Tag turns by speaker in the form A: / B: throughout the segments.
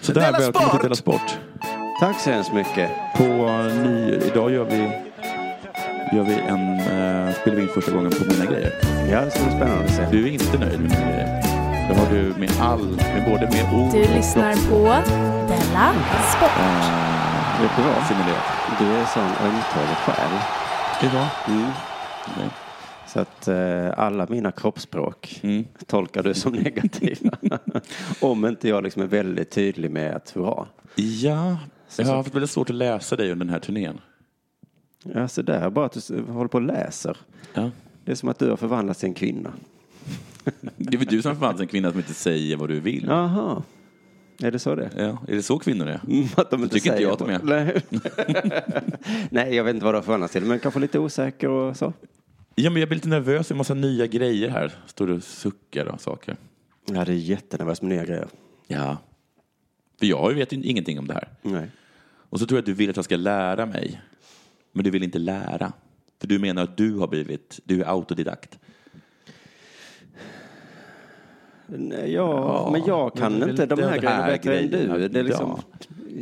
A: Så där
B: Della
A: välkommen till
B: Sport!
A: Della Sport.
C: Tack så hemskt mycket.
A: På eh, ny, idag gör vi, gör vi en, eh, spelar vi in första gången på Mina Grejer.
C: Ja, det ska bli spännande att se.
A: Du är inte nöjd med Mina Grejer. Det har du med all, med både med ord
D: Du lyssnar på Della Sport.
A: eh, Jättebra. Simulerat.
C: Du är en sån ömtålig själ.
A: Idag.
C: Mm.
A: Nej.
C: Så att eh, alla mina kroppsspråk
A: Mm.
C: tolkar du som negativa. Om inte jag liksom är väldigt tydlig med att hurra.
A: Ja, jag har haft väldigt svårt att läsa dig under den här turnén.
C: Ja, så där. Bara att du s- håller på och läser.
A: Ja.
C: Det är som att du har förvandlats till en kvinna.
A: Det är väl du som förvandlas en kvinna som inte säger vad du vill.
C: Jaha. Är det så det är?
A: Ja, är det så kvinnor är?
C: Mm, Att de inte
A: tycker inte
C: säger
A: jag att de är.
C: Nej. Nej, jag vet inte vad du har förvandlats till, men kanske lite osäker och så.
A: Ja, men jag blir lite nervös. Det är en massa nya grejer här. Står du och suckar och saker.
C: Ja, det är jättenervöst med nya grejer.
A: Ja. För jag vet ju ingenting om det här.
C: Nej.
A: Och så tror jag att du vill att jag ska lära mig. Men du vill inte lära. För du menar att du har blivit, du är autodidakt.
C: Nej, ja, men jag
A: men det
C: kan
A: är
C: inte de
A: lite
C: här
A: den här
C: grejerna bättre än
A: grejen.
C: du. Det är liksom,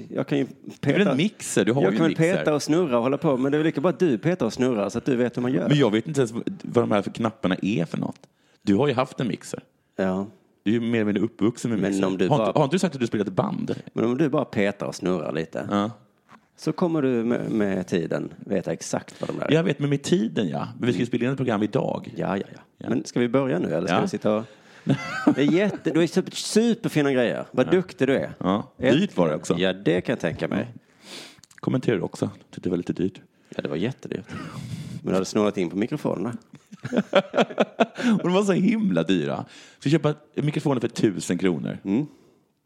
C: jag kan ju
A: Det är väl
C: peta,
A: en mixer? Du har
C: jag
A: ju
C: kan
A: en
C: väl
A: mixer.
C: peta och snurra och hålla på, men det är väl lika bra att du petar och snurrar så att du vet hur man gör.
A: Men jag vet inte ens vad de här för knapparna är för något. Du har ju haft en mixer.
C: Ja.
A: Du är ju mer eller mindre uppvuxen med
C: Men
A: mixer.
C: om du
A: har,
C: bara-
A: inte, har inte du sagt att du spelat band?
C: Men om du bara petar och snurrar lite
A: Ja.
C: så kommer du med, med tiden veta exakt vad de där är.
A: Jag vet, men med tiden ja. Men vi ska ju spela in ett program idag.
C: Ja, ja, ja.
A: Ja.
C: Men ska vi börja nu eller ska
A: Ja.
C: vi sitta och... Det är jätte, du är super- superfina grejer. Vad duktig du är.
A: Ja.
C: Ett-
A: Dyrt var det också.
C: Ja, det kan jag tänka mig.
A: Kommenterar också. Tyckte det var lite dyrt.
C: Ja, det var jättedyrt. Men du hade snurrat in på mikrofonerna.
A: Och de var så himla dyra. Så köpa mikrofoner för tusen kronor.
C: Mm.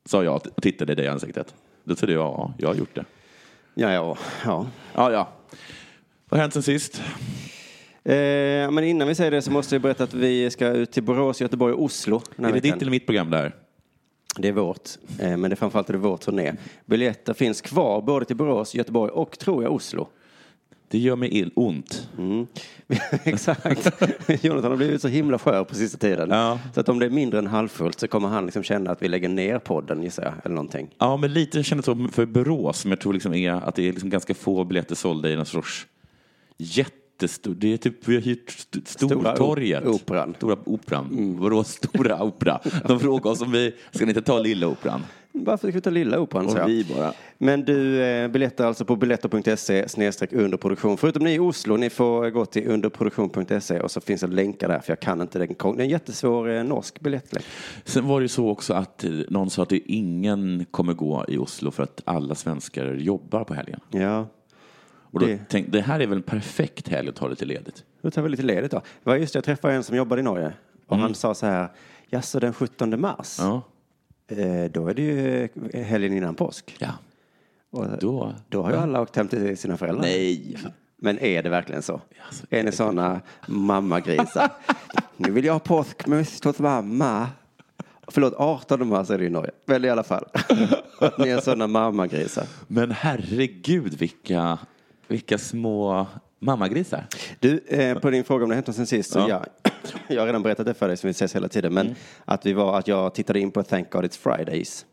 A: Sa jag och tittade dig i ansiktet. Då sa du ja, jag har gjort det.
C: Ja, ja, ja.
A: Ja, ja. Vad har hänt sen sist?
C: Eh, men innan vi säger det så måste jag berätta att vi ska ut till Borås, Göteborg och Oslo. den här
A: är det
C: veckan.
A: ditt eller mitt program där?
C: Det är vårt. Eh, men det är framförallt är det vår turné. Biljetter finns kvar både till Borås, Göteborg och tror jag Oslo.
A: Det gör mig ill, ont.
C: Mm. Exakt. Jonathan har blivit så himla skör på sista tiden.
A: Ja.
C: Så att om det är mindre än halvfullt så kommer han liksom känna att vi lägger ner podden gissar jag. Eller någonting.
A: Ja, men lite kändes så för Borås, som jag tror liksom är att det är liksom ganska få biljetter sålda i någon sorts jättestor... Det är typ, vi har hyrt st- Stortorget.
C: Stora o- Operan. Mm.
A: Stora Operan. Borås Stora Opera. De frågar oss om vi... Ska ni inte ta Lilla Operan?
C: Varför ska vi ta Lilla Operan?
A: Och
C: sa jag.
A: vi bara.
C: Men du, eh, biljetter alltså på biljetter.se snedstreck underproduktion. Förutom ni i Oslo, ni får gå till underproduktion.se E och så finns det länkar där för jag kan inte den. kon- Det är en jättesvår eh, norsk biljettlänk.
A: Sen var det ju så också att eh, någon sa att det- ingen kommer gå i Oslo för att alla svenskar jobbar på helgen.
C: Ja,
A: Och då
C: Det-
A: tänkte det här är väl en perfekt helg att ta lite ledigt.
C: då tar vi lite ledigt då. Det var just det, jag träffade en som jobbade i Norge och han sa så här, jaså den 17 mars?
A: Mm. Ja.
C: Eh, Då är det ju eh, helgen innan påsk.
A: ja.
C: Och
A: Då...
C: då har ju alla åkt hem till sina föräldrar.
A: Nej.
C: Men är det verkligen så?
A: Alltså,
C: är ni sådana mammagrisar? nu vill jag ha påskmust hos mamma. Förlåt, 18 mars är det i Norge. Väl i alla fall. Att ni är sådana mammagrisar.
A: Men herregud vilka, vilka små mammagrisar.
C: Du, eh, på din fråga om det hänt något sen sist. Så
A: Ja. Mm.
C: ja. Jag har redan berättat det för dig som vi ses hela tiden. Men att, vi var, att jag tittade in på Thank God It's Fridays.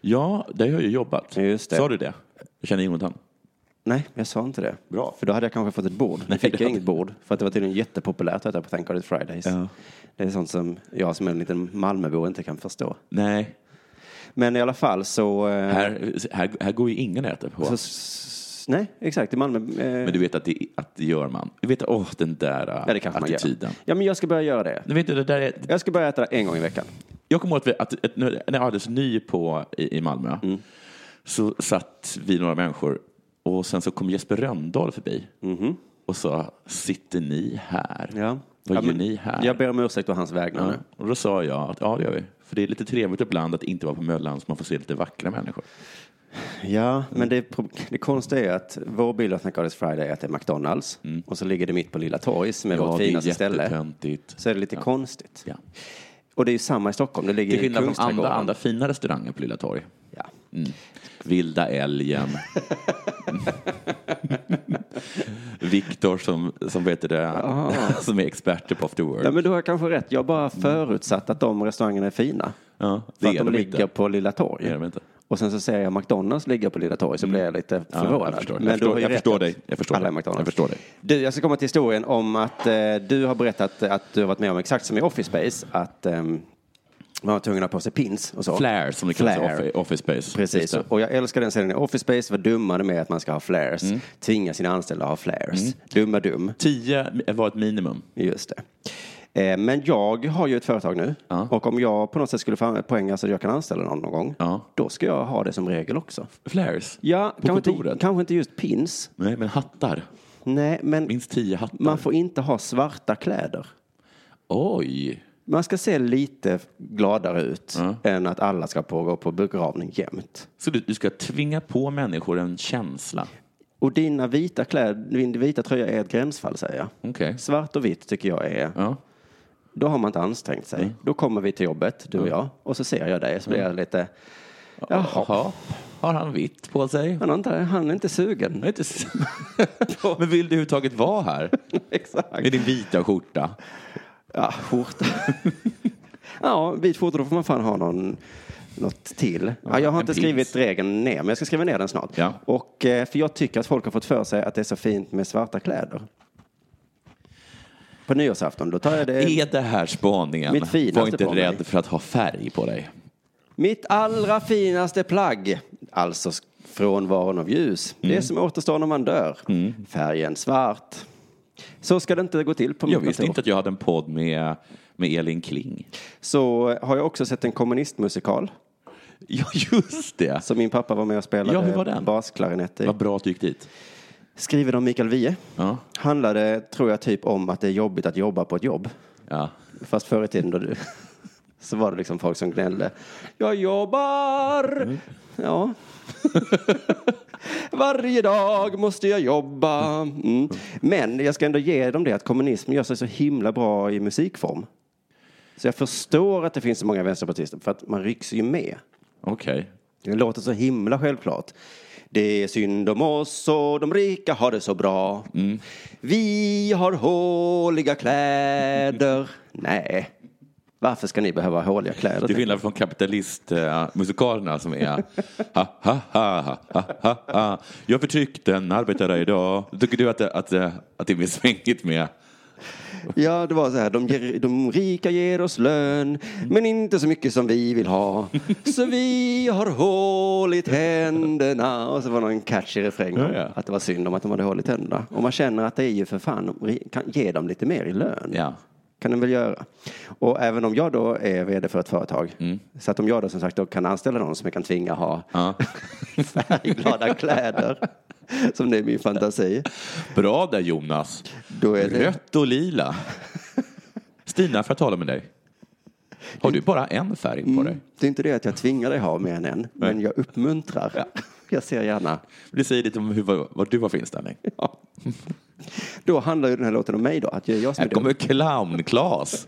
A: Ja, där har jag ju jobbat.
C: Just det.
A: Sa du det? Jag känner Jonathan.
C: Nej, jag sa inte det.
A: Bra.
C: För då hade jag kanske fått ett bord.
A: Nej,
C: Nej, fick
A: det
C: jag
A: hade-
C: inget bord. För att det var tydligen jättepopulärt att äta på Thank God It's Fridays.
A: Ja.
C: Det är sånt som jag som är en liten Malmöbo inte kan förstå.
A: Nej,
C: Men i alla fall så... eh,
A: här, här, här går ju ingen och äter på.
C: så s- nej, exakt. I Malmö... Eh,
A: Men du vet att det, att det gör man. Du vet, åh, den där
C: ja, det kanske man gör.
A: attityden.
C: Ja, men jag ska börja göra det.
A: Du vet, det där är,
C: Jag ska börja äta det en gång i veckan.
A: Jag kommer ihåg att, vi, att, att när jag var alldeles ny på, i, i Malmö
C: Mm.
A: så satt vi några människor och sen så kom Jesper Röndahl förbi och sa sitter ni här? Vad
C: Mhm. Ja,
A: gör
C: men
A: ni här?
C: Jag ber om ursäkt på hans vägnar
A: ja.
C: nu.
A: Och då sa jag att ja det gör vi. För det är lite trevligt ibland att inte vara på Möllan så man får se lite vackra människor.
C: Ja, men det, är prob- det konstiga är att vår bild av Thank God It's Friday är att det är McDonalds och så ligger det mitt på Lilla Torgs som är
A: Mm. ja
C: vårt
A: det är
C: finaste ställe.
A: jättetöntigt.
C: Så är det lite konstigt.
A: Ja.
C: Och det är ju samma i Stockholm. Det ligger
A: Till
C: i
A: skillnad från
C: Kungsträdgården.
A: andra, andra fina restauranger på Lilla Torg.
C: Ja.
A: Mm. Vilda älgen. Viktor som, som, vet det, som är experter på after work.
C: ja, men du har kanske rätt.
A: Mm.
C: Jag har bara förutsatt att de restaurangerna är fina.
A: Ja, det
C: För att
A: är
C: de
A: de
C: ligger
A: inte.
C: på Lilla Torg.
A: Det är de inte. Mm.
C: Och sen så ser jag McDonalds ligga på Lilla Torg så blir jag lite förvånad.
A: jag förstår,
C: Men
A: jag
C: du har
A: förstår,
C: ju
A: jag
C: rätt
A: förstår
C: att
A: dig. Jag förstår
C: alla är
A: dig.
C: McDonald's.
A: Jag förstår dig.
C: Du, jag ska komma till historien om att eh, du har berättat att du har varit med om exakt som i Office Space att ehm, man var tvungen att ha på sig pins och så.
A: Flare som det kallas i
C: Flare.
A: office, office space. Just
C: Precis,
A: det.
C: och jag älskar den serien. i Office Space var dummare med att man ska ha flares.
A: Mm.
C: Tvinga sina anställda att ha flares. Dumma dum.
A: Tio eh, var ett minimum.
C: Just det. Eh, Men jag har ju ett företag nu
A: Ja.
C: och om jag på något sätt skulle få poäng så att jag kan anställa någon någon gång,
A: Ja.
C: då ska jag ha det som regel också.
A: Flares?
C: Ja,
A: på
C: kanske inte,
A: kontoret?
C: kanske inte just pins.
A: Nej, men hattar.
C: Nej, men
A: Minst tio hattar.
C: man får inte ha svarta kläder.
A: Oj!
C: Man ska se lite gladare ut än att alla ska på, gå på begravning jämt.
A: Så du, du ska tvinga på människor en känsla?
C: Och dina vita kläder, din vita tröja är ett gränsfall säger jag.
A: Okej.
C: Svart och vitt tycker jag är
A: Ja.
C: Då har man inte ansträngt sig. Då kommer vi till jobbet, du och jag, och så ser jag dig så blir jag lite, jaha,
A: Jaha. Har han vitt på sig?
C: han är inte, han är inte sugen.
A: Jag är inte s- men vill du överhuvudtaget vara här?
C: Exakt.
A: Med din vita skjorta?
C: Ja, skjorta. ja, vit skjorta, då får man fan ha någon, något till. Ja, jag har
A: en
C: inte
A: pins.
C: skrivit regeln ner, men jag ska skriva ner den snart.
A: Ja.
C: Och, eh, för jag tycker att folk har fått för sig att det är så fint med svarta kläder. På nyårsafton, då tar jag det.
A: Är det här spaningen?
C: Mitt finaste
A: Var inte
C: på mig.
A: rädd för att ha färg på dig.
C: Mitt allra finaste plagg, alltså sk- frånvaron av ljus, det som återstår när man dör, färgen svart. Så ska det inte gå till på
A: Jag
C: mitt
A: visste
C: kontor.
A: inte att jag hade en podd med, med Elin Kling.
C: Så har jag också sett en kommunistmusikal
A: Ja, just det.
C: som min pappa var med och spelade
A: Ja, hur var den?
C: basklarinett i.
A: Vad bra att du gick dit.
C: Skriven om Mikael Wiehe.
A: Ja.
C: Handlade, tror jag, typ om att det är jobbigt att jobba på ett jobb.
A: Ja.
C: Fast förr i tiden då du, så var det liksom folk som gnällde. Jag jobbar!
A: Mm.
C: Ja. Varje dag måste jag jobba. Mm. Men jag ska ändå ge dem det att kommunism gör sig så himla bra i musikform. Så jag förstår att det finns så många vänsterpartister för att man rycks ju med.
A: Okej.
C: Det låter så himla självklart. Det är synd om oss och de rika har det så bra.
A: Mm.
C: Vi har håliga kläder. Nej, varför ska ni behöva ha håliga kläder?
A: Till skillnad från kapitalistmusikalerna som är ha, ha, ha, ha, ha, ha. Jag förtryckte en arbetare idag. Tycker du att det, att, det- att det är mer svängigt med
C: Ja, det var så här. De, ger, de rika ger oss lön,
A: Mm.
C: men inte så mycket som vi vill ha. Så vi har hål i tänderna. Och så var det en catchy refräng om
A: Ja, ja.
C: att det var synd om att de hade hål i tänderna. Och man känner att det är ju för fan, ri- kan ge dem lite mer i lön.
A: Ja.
C: Kan den väl göra. Och även om jag då är vd för ett företag, så att om jag då som sagt då kan anställa någon som jag kan tvinga ha
A: Ja.
C: färgglada kläder, som det är min fantasi,
A: Bra där Jonas.
C: då är det...
A: Rött och lila. Stina, får jag tala med dig? Har du bara en färg på dig?
C: Mm. Det är inte det att jag tvingar dig ha mer än en, men jag uppmuntrar. Jag ser gärna.
A: Det säger lite om hur, vad, vad du har för inställning.
C: Ja. Då handlar ju den här låten om mig då, att jag är jag som är
A: Här kommer
C: dum.
A: clown-Klas.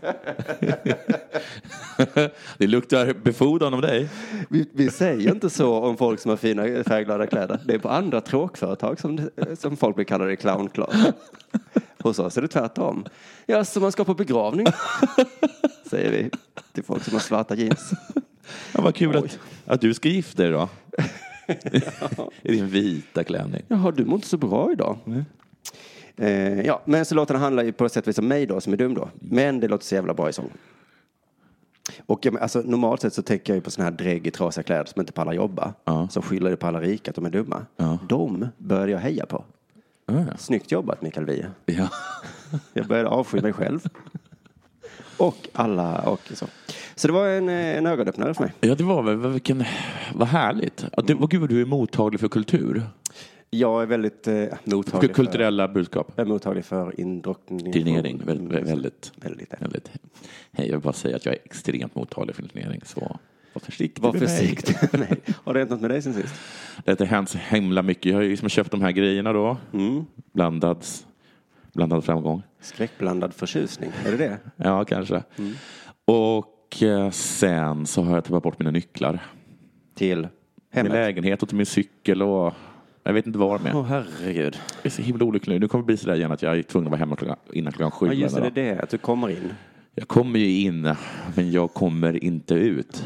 A: det luktar befordran om dig.
C: Vi, vi säger inte så om folk som har fina färgglada kläder. Det är på andra tråkföretag som, det- som folk blir kallade clownklas. Hos oss är det tvärtom. Ja, så man ska på begravning, säger vi till folk som har svarta jeans.
A: Ja, vad kul
C: Oj.
A: att, att du ska gifta dig då. I din vita klänning.
C: Jaha, du mår inte så bra idag. Eh, ja, men så låten handlar ju på sätt och vis om mig då, som är dum då. Men det låter så jävla bra i sång. Och ja, men alltså, normalt sett så tänker jag ju på såna här drägg i trasiga kläder som inte pallar jobba.
A: Ja.
C: Som skyller på alla rika att de är dumma.
A: Ja.
C: De började jag heja på. Snyggt jobbat Mikael Wiehe.
A: Ja.
C: Jag började avsky mig själv. och alla och så. Så det var en, eh, en ögonöppnare för mig.
A: ja, det var väl, vilken, vad härligt. Ja, det, vad gud vad du är mottaglig för kultur.
C: Jag är väldigt eh, mottaglig, för,
A: Kulturella budskap.
C: jag är mottaglig för indoktrinering.
A: Turnering, vä- vä- väldigt.
C: Väldigt.
A: Väldigt. Hej, jag vill bara säga att jag är extremt mottaglig för turnering, så var försiktig
C: Var
A: med mig.
C: försiktig med mig. Har det hänt något med dig sen sist?
A: Det har hänt så himla mycket. Jag har ju liksom köpt de här grejerna då.
C: Mm.
A: Blandad, blandad framgång.
C: Skräckblandad förtjusning, är det det?
A: Ja, kanske.
C: Mm.
A: Och eh, sen så har jag tappat bort mina nycklar.
C: Till
A: Min
C: hemmet?
A: lägenhet och till min cykel och jag vet inte vad de är.
C: Åh herregud.
A: Jag är så himla olycklig nu. Nu kommer det bli sådär igen att jag är tvungen att vara hemma klockan, innan klockan sju.
C: Ja just det,
A: varje
C: det
A: dag.
C: är det. Att du kommer in.
A: Jag kommer ju in, men jag kommer inte ut.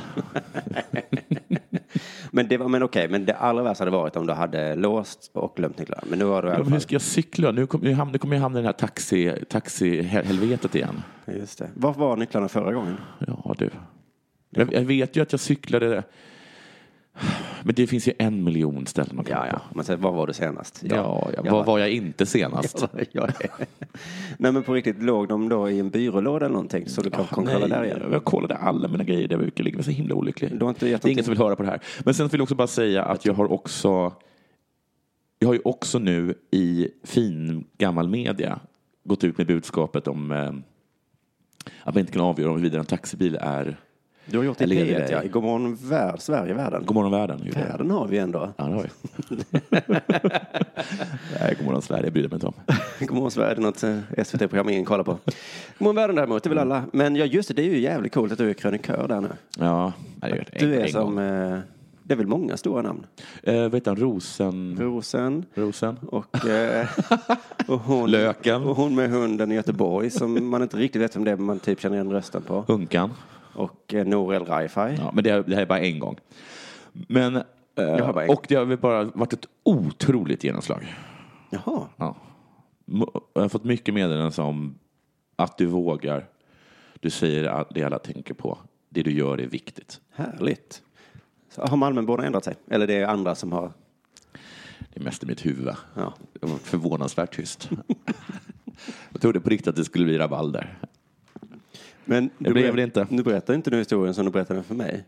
C: Men, det var, men okej, men det allra värsta hade varit om du hade låst och glömt nycklarna. Men nu har du i
A: Ja,
C: alla
A: men hur
C: fall.
A: ska jag cykla? Nu kommer jag hamna, nu kommer jag hamna i den här taxi, taxihelvetet igen.
C: Just det. Var var nycklarna förra gången?
A: Ja, du. Jag, jag vet ju att jag cyklade. Men det finns ju en miljon ställen att kolla
C: Ja, ja.
A: på.
C: Man säger, var var du senast?
A: Ja, ja. Var var jag inte senast?
C: Ja, ja, ja. Nej men på riktigt, låg de då i en byrålåda eller någonting så du
A: Ah,
C: kanske kan kolla där igen?
A: jag kollade alla mina grejer där jag brukar ligga. Jag är så himla olycklig.
C: Du har inte gett
A: Det är ingen
C: någonting.
A: som vill höra på det här. Men sen vill jag också bara säga att jag har också jag har ju också nu i fin gammal media gått ut med budskapet om eh, att man inte kan avgöra om huruvida en taxibil är
C: Du har gjort det
A: Eller
C: i
A: är det
C: P1, ja.
A: dig?
C: I Godmorgon värld, Sverige-världen.
A: Godmorgon världen. gjorde jag.
C: Världen har vi ändå.
A: Ja, det har jag. Nej, Godmorgon Sverige bryr jag mig inte om.
C: Godmorgon Sverige, det är något eh, SVT-program ingen kollar på. Godmorgon världen däremot, det vill alla. Men ja, just det, det är ju jävligt coolt att du är krönikör där nu.
A: Ja, nej, jag har gjort en,
C: Du är
A: en
C: som,
A: gång.
C: eh, det är väl många stora namn?
A: Eh, vet han, Rosen...
C: Rosen
A: Rosen?
C: och, eh, och hon.
A: Löken.
C: Och hon med hunden i Göteborg som man inte riktigt vet vem det är men man typ känner igen rösten på.
A: Hunkan?
C: Och eh, Nour El Rifai.
A: Ja, men det, det här är bara en gång. Men, eh,
C: har bara en.
A: och det har väl bara varit ett otroligt genomslag.
C: Jaha.
A: Ja. M- Jag har fått mycket meddelanden om att du vågar. Du säger att det alla tänker på. Det du gör är viktigt.
C: Härligt. Så har Malmöborna ändrat sig? Eller det är andra som har...
A: Det är mest i mitt huvud.
C: Ja.
A: Det var förvånansvärt tyst. jag trodde på riktigt att det skulle bli rabalder.
C: Men du
A: blev
C: ber-
A: det inte.
C: Du berättar inte nu historien som du berättade den för mig.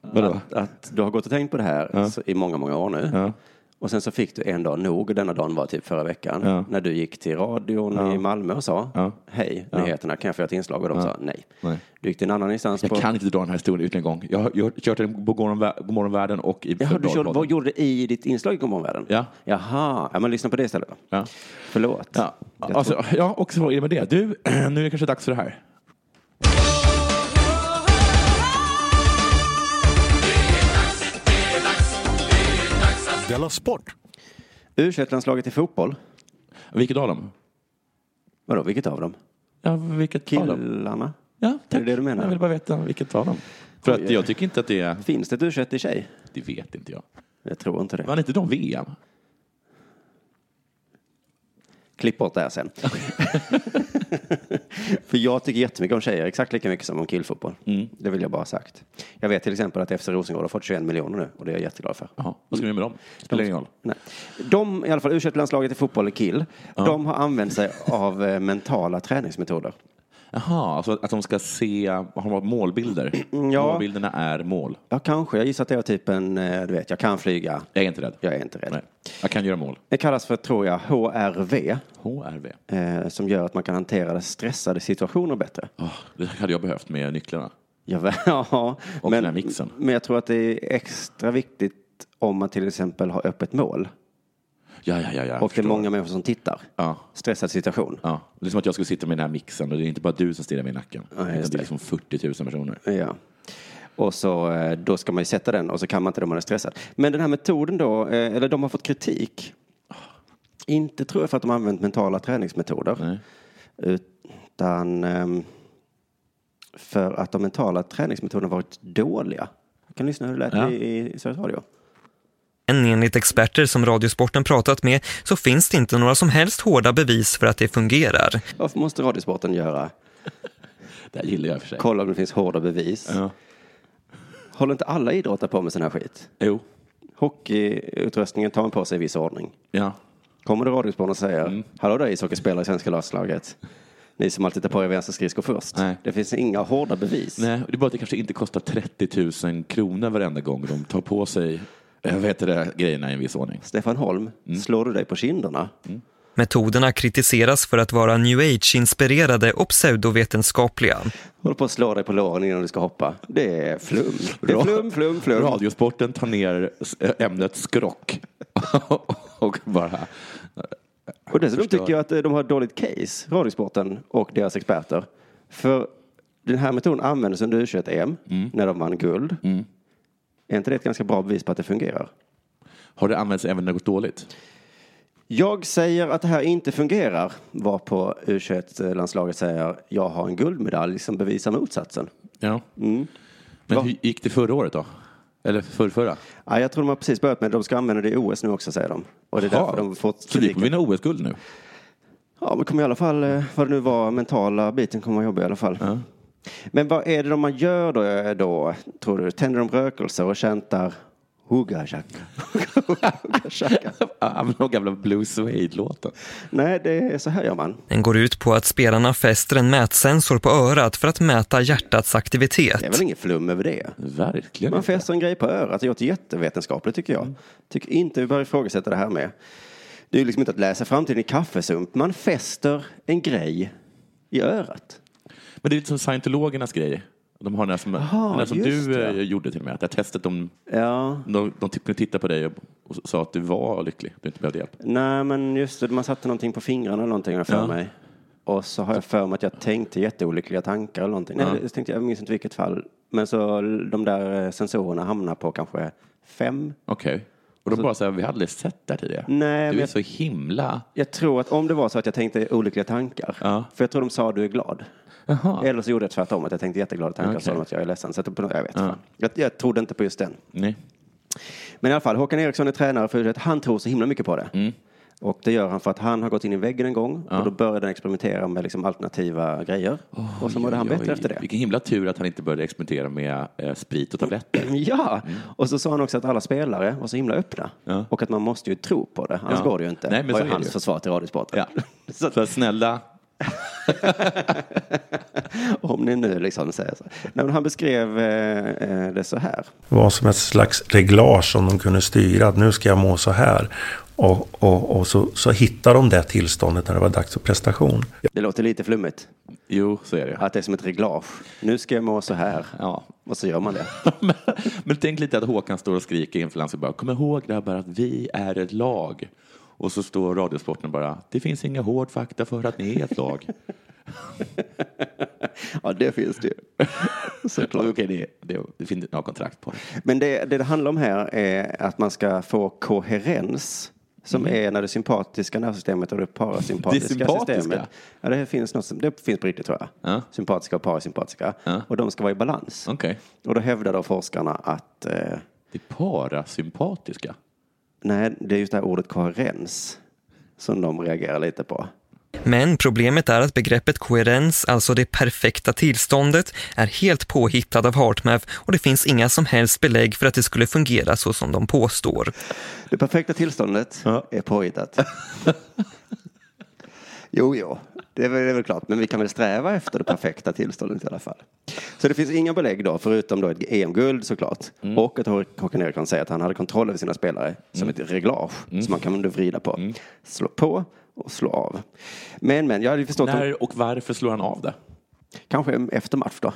A: Vadå?
C: Att, att du har gått och tänkt på det här så, i många, många år nu.
A: Ja.
C: Och sen så fick du en dag nog, och denna dagen var typ förra veckan,
A: Ja.
C: när du gick till radion i Malmö och sa
A: Ja.
C: hej, nyheterna, kan jag få göra ett inslag? Och de sa nej.
A: Nej.
C: Du gick till en annan instans
A: Jag
C: på...
A: kan inte dra den här historien ut en gång. Jag har, jag har kört den på Godmorgon Vär- Godmorgon Världen och i
C: Jaha, du körde,
A: Förbladpodden.
C: vad gjorde du i ditt inslag i Godmorgonvärlden?
A: Ja.
C: Jaha, ja men lyssna på det istället då.
A: Ja.
C: Förlåt.
A: Ja.
C: Jag
A: Alltså, ja, och så är det med det. Du, nu är det kanske dags för det här.
B: Della Sport!
C: U21-landslaget i fotboll,
A: Vilket av dem?
C: vadå, vilket av dem?
A: Ja, vilket av dem?
C: Killarna?
A: Ja, tack.
C: Är det det du menar?
A: Jag vill bara veta vilket av dem. För att
C: Oj.
A: jag tycker inte att det är...
C: Finns det ett U21 i tjej?
A: Det vet inte jag.
C: Jag tror inte det.
A: Vann inte de VM?
C: Klipp bort det här sen. För jag tycker jättemycket om tjejer, exakt lika mycket som om killfotboll.
A: Mm.
C: Det vill jag bara ha sagt. Jag vet till exempel att FC Rosengård har fått 21 miljoner nu och det är jag jätteglad för.
A: Jaha, vad ska vi göra med dem? Spelar ingen roll.
C: Nej. De, i alla fall u landslaget i fotboll, kill, de har använt sig av eh, mentala träningsmetoder.
A: Jaha, alltså att de ska se... Har de målbilder?
C: ja.
A: Målbilderna är mål.
C: Ja, kanske. Jag gissar att det är typ en, eh, du vet, jag kan flyga,
A: Jag är inte rädd.
C: jag är inte rädd.
A: Nej. Jag kan göra mål.
C: Det kallas för, tror jag, HRV,
A: HRV.
C: eh, som gör att man kan hantera stressade situationer bättre.
A: Åh, det hade jag behövt med nycklarna.
C: Ja, va- ja.
A: Och den här mixen.
C: men jag tror att det är extra viktigt om man till exempel har öppet mål
A: Ja, ja, ja. ja.
C: och det är många människor som tittar.
A: Ja.
C: Stressad situation.
A: Ja, det är som att jag skulle sitta med den här mixen och det är inte bara du som stirrar mig i nacken. Utan det
C: just
A: är liksom 40 000 personer.
C: Ja. Och så eh, då ska man ju sätta den och så kan man inte det om man är stressad. Men den här metoden då, eh, eller de har fått kritik. Inte tror jag för att de har använt mentala träningsmetoder.
A: Nej.
C: Utan ehm, för att de mentala träningsmetoderna varit dåliga. Jag kan lyssna hur det lät
A: Ja.
C: i, i Sveriges Radio.
E: Men enligt experter som Radiosporten pratat med så finns det inte några som helst hårda bevis för att det fungerar.
C: Varför måste Radiosporten göra?
A: Det här gillar jag i och för sig.
C: Kolla om det finns hårda bevis.
A: Ja.
C: Håller inte alla idrottare på med sån här skit?
A: Jo.
C: Hockeyutrustningen tar man på sig i viss ordning.
A: Ja.
C: Kommer det radiospån och säger Hallå där ishockeyspelare i svenska landslaget. Ni som alltid tar på er vänsterskridskor först.
A: Nej.
C: Det finns inga hårda bevis.
A: Nej, det är bara att det kanske inte kostar 30 000 kronor varenda gång de tar på sig eh, vad heter det, grejerna i en viss ordning.
C: Stefan Holm, slår du dig på kinderna?
E: Metoderna kritiseras för att vara new age-inspirerade och pseudovetenskapliga.
C: Håller på att slå dig på låren innan du ska hoppa. Det är flum. Det är
A: Bra.
C: flum, flum, flum.
A: Radiosporten tar ner s- eh, ämnet skrock och bara...
C: Och dessutom
A: Förstår.
C: tycker jag att eh, de har ett dåligt case, Radiosporten och deras experter. För den här metoden användes under U21-EM när de vann guld. Är inte det ett ganska bra bevis på att det fungerar?
A: Har det använts även när det gått dåligt?
C: Jag säger att det här inte fungerar, var på U21-landslaget säger jag har en guldmedalj som bevisar motsatsen.
A: Ja. Men hur gick det förra året då? Eller förrförra.
C: Ja, jag tror de har precis börjat med det. De ska använda det i OS nu också, säger de. Och det är
A: Jaha.
C: därför de har fått
A: Så vi
C: kritiken.
A: kommer vinna OS-guld nu.
C: Ja, men kommer i alla fall, eh, vad det nu var, mentala biten kommer vara jobbig i alla fall. Men vad är det de man gör då, eh, då tror du? Tänder de rökelser och käntar Hugga shaka. Hugga shaka.
A: Ah, men de gamla Blue Suede-låten.
C: Nej, det är så här gör man.
E: Den går ut på att spelarna fäster en mätsensor på örat för att mäta hjärtats aktivitet.
C: Det är väl inget flum över det?
A: Verkligen.
C: Man fäster en grej på örat. Det låter jättevetenskapligt tycker jag. Tycker inte vi bör ifrågasätta det här med. Det är ju liksom inte att läsa framtiden i kaffesump. Man fäster en grej i örat.
A: Men det är lite som scientologernas grej. De har den här som, den här som
C: just
A: du
C: det.
A: eh, gjorde till och med. Det här testet de,
C: Ja,
A: de, de typ kunde titta på dig och, och sa att du var lycklig. Du inte behövde hjälp.
C: nej men just det. Man satte någonting på fingrarna eller någonting har jag för
A: Ja.
C: mig. Och så har jag för mig att jag tänkte jätteolyckliga tankar eller någonting. Nej, jag, tänkte, jag minns inte vilket fall. Men så de där eh, sensorerna hamnar på kanske fem.
A: Okej. Och de bara så här, vi hade aldrig sett det här tidigare.
C: Nej, men
A: du är
C: jag-
A: så himla...
C: Jag tror att om det var så att jag tänkte olyckliga tankar.
A: Ja.
C: För jag tror de sa du är glad.
A: Jaha.
C: Eller så gjorde jag tvärtom, att jag tänkte jätteglada tankar och sa
A: Okej.
C: de att jag är ledsen. Så att på, jag, vet,
A: Ja.
C: fan. jag, jag trodde inte på just den.
A: Nej.
C: Men i alla fall, Håkan Eriksson är tränare för U21. Han tror så himla mycket på det.
A: Mm.
C: Och det gör han för att han har gått in i väggen en gång och då började han experimentera med liksom alternativa grejer. och så mådde han
A: Oj,
C: bättre
A: oj,
C: efter det.
A: Vilken himla tur att han inte började experimentera med eh, sprit och tabletter.
C: Ja, och så sa han också att alla spelare var så himla öppna
A: Mm. Ja.
C: och att man måste ju tro på det, annars
A: Ja.
C: går det ju inte.
A: Nej, men
C: var
A: så
C: ju
A: är det
C: hans
A: ju.
C: försvar till Radiosporten.
A: Ja. Så, snälla.
C: Om ni nu liksom säger så. Nej, men han beskrev eh, eh, det så här.
F: var som ett slags reglage som de kunde styra. Att nu ska jag må så här. Och, och, och så, så hittade de det tillståndet när det var dags för prestation.
C: Det låter lite flummigt.
A: Jo, så är det.
C: Att det är som ett reglage. Nu ska jag må så här.
A: Ja.
C: Och så gör man det.
A: men, men tänk lite att Håkan står och skriker inför landet och bara kom ihåg grabbar att vi är ett lag. Och så står Radiosporten bara det finns inga hård fakta för att ni är ett lag.
C: Ja, det finns det ju. Såklart.
A: Okej, det, det, det finns inte några kontrakt på det.
C: Men det, det det handlar om här är att man ska få koherens. Som är när det sympatiska nervsystemet och det parasympatiska
A: Mhm. Det sympatiska?
C: systemet. Ja, det finns något som, det finns på riktigt tror jag.
A: Ja.
C: Sympatiska och parasympatiska.
A: Ja.
C: Och de ska vara i balans.
A: Okej.
C: Och då hävdar då forskarna att eh,
A: Det parasympatiska.
C: nej, det är just det här ordet koherens som de reagerar lite på.
E: Men problemet är att begreppet koherens, alltså det perfekta tillståndet, är helt påhittad av Hartmath och det finns inga som helst belägg för att det skulle fungera så som de påstår.
C: Det perfekta tillståndet
A: Ja.
C: är påhittat. jo, jo, det är, väl, det är väl klart, men vi kan väl sträva efter det perfekta tillståndet i alla fall. Så det finns inga belägg då, förutom då ett EM-guld såklart.
A: Mm.
C: Och att Håkan Eriksson säger att han hade kontroll över sina spelare som
A: Mm.
C: ett reglage som man kan då vrida på. Slå på och slå av. Men, men, jag hade ju förstått om,
A: När och varför slår han av det?
C: kanske efter match då.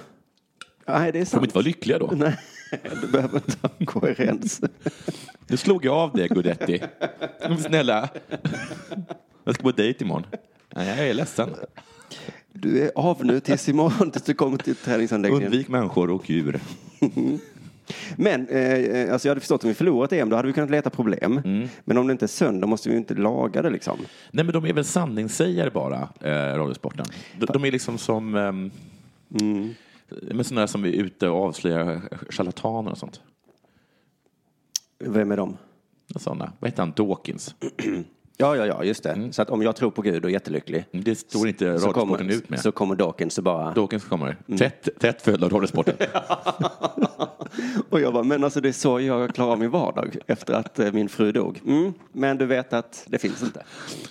C: Nej, det är
A: Får
C: sant.
A: de inte vara lyckliga då?
C: Nej, du behöver inte ha koherens.
A: Nu slog jag av det, Gudetti. Men Snälla. Jag ska på dejt imorgon. Nej, jag är ledsen.
C: Du är av nu tills imorgon, tills du kommer till träningsanläggningen.
A: Undvik människor och djur.
C: Men eh, alltså jag hade förstått om vi förlorat EM, då hade vi kunnat leta problem.
A: Mm.
C: Men om det inte är sönder måste vi ju inte laga det liksom.
A: Nej, men de är väl sanningssägare bara, eh, Radiosporten. De, de är liksom som ehm,
C: Mm.
A: men sådana som är ute och avslöjar charlataner och sånt.
C: Vem är de?
A: Såna. Vad heter han? Dawkins? Mm.
C: Ja, ja, ja, just det. Så att om jag tror på Gud och är jättelycklig.
A: Det står inte
C: så
A: Radiosporten
C: kommer,
A: ut med.
C: Så Mm. kommer Dawkins och bara...
A: Dawkins kommer. Tätt, tätt följd av Radiosporten.
C: Och jag bara, men alltså det är så jag klarar min vardag efter att eh, min fru dog. Mm, men du vet att det finns inte.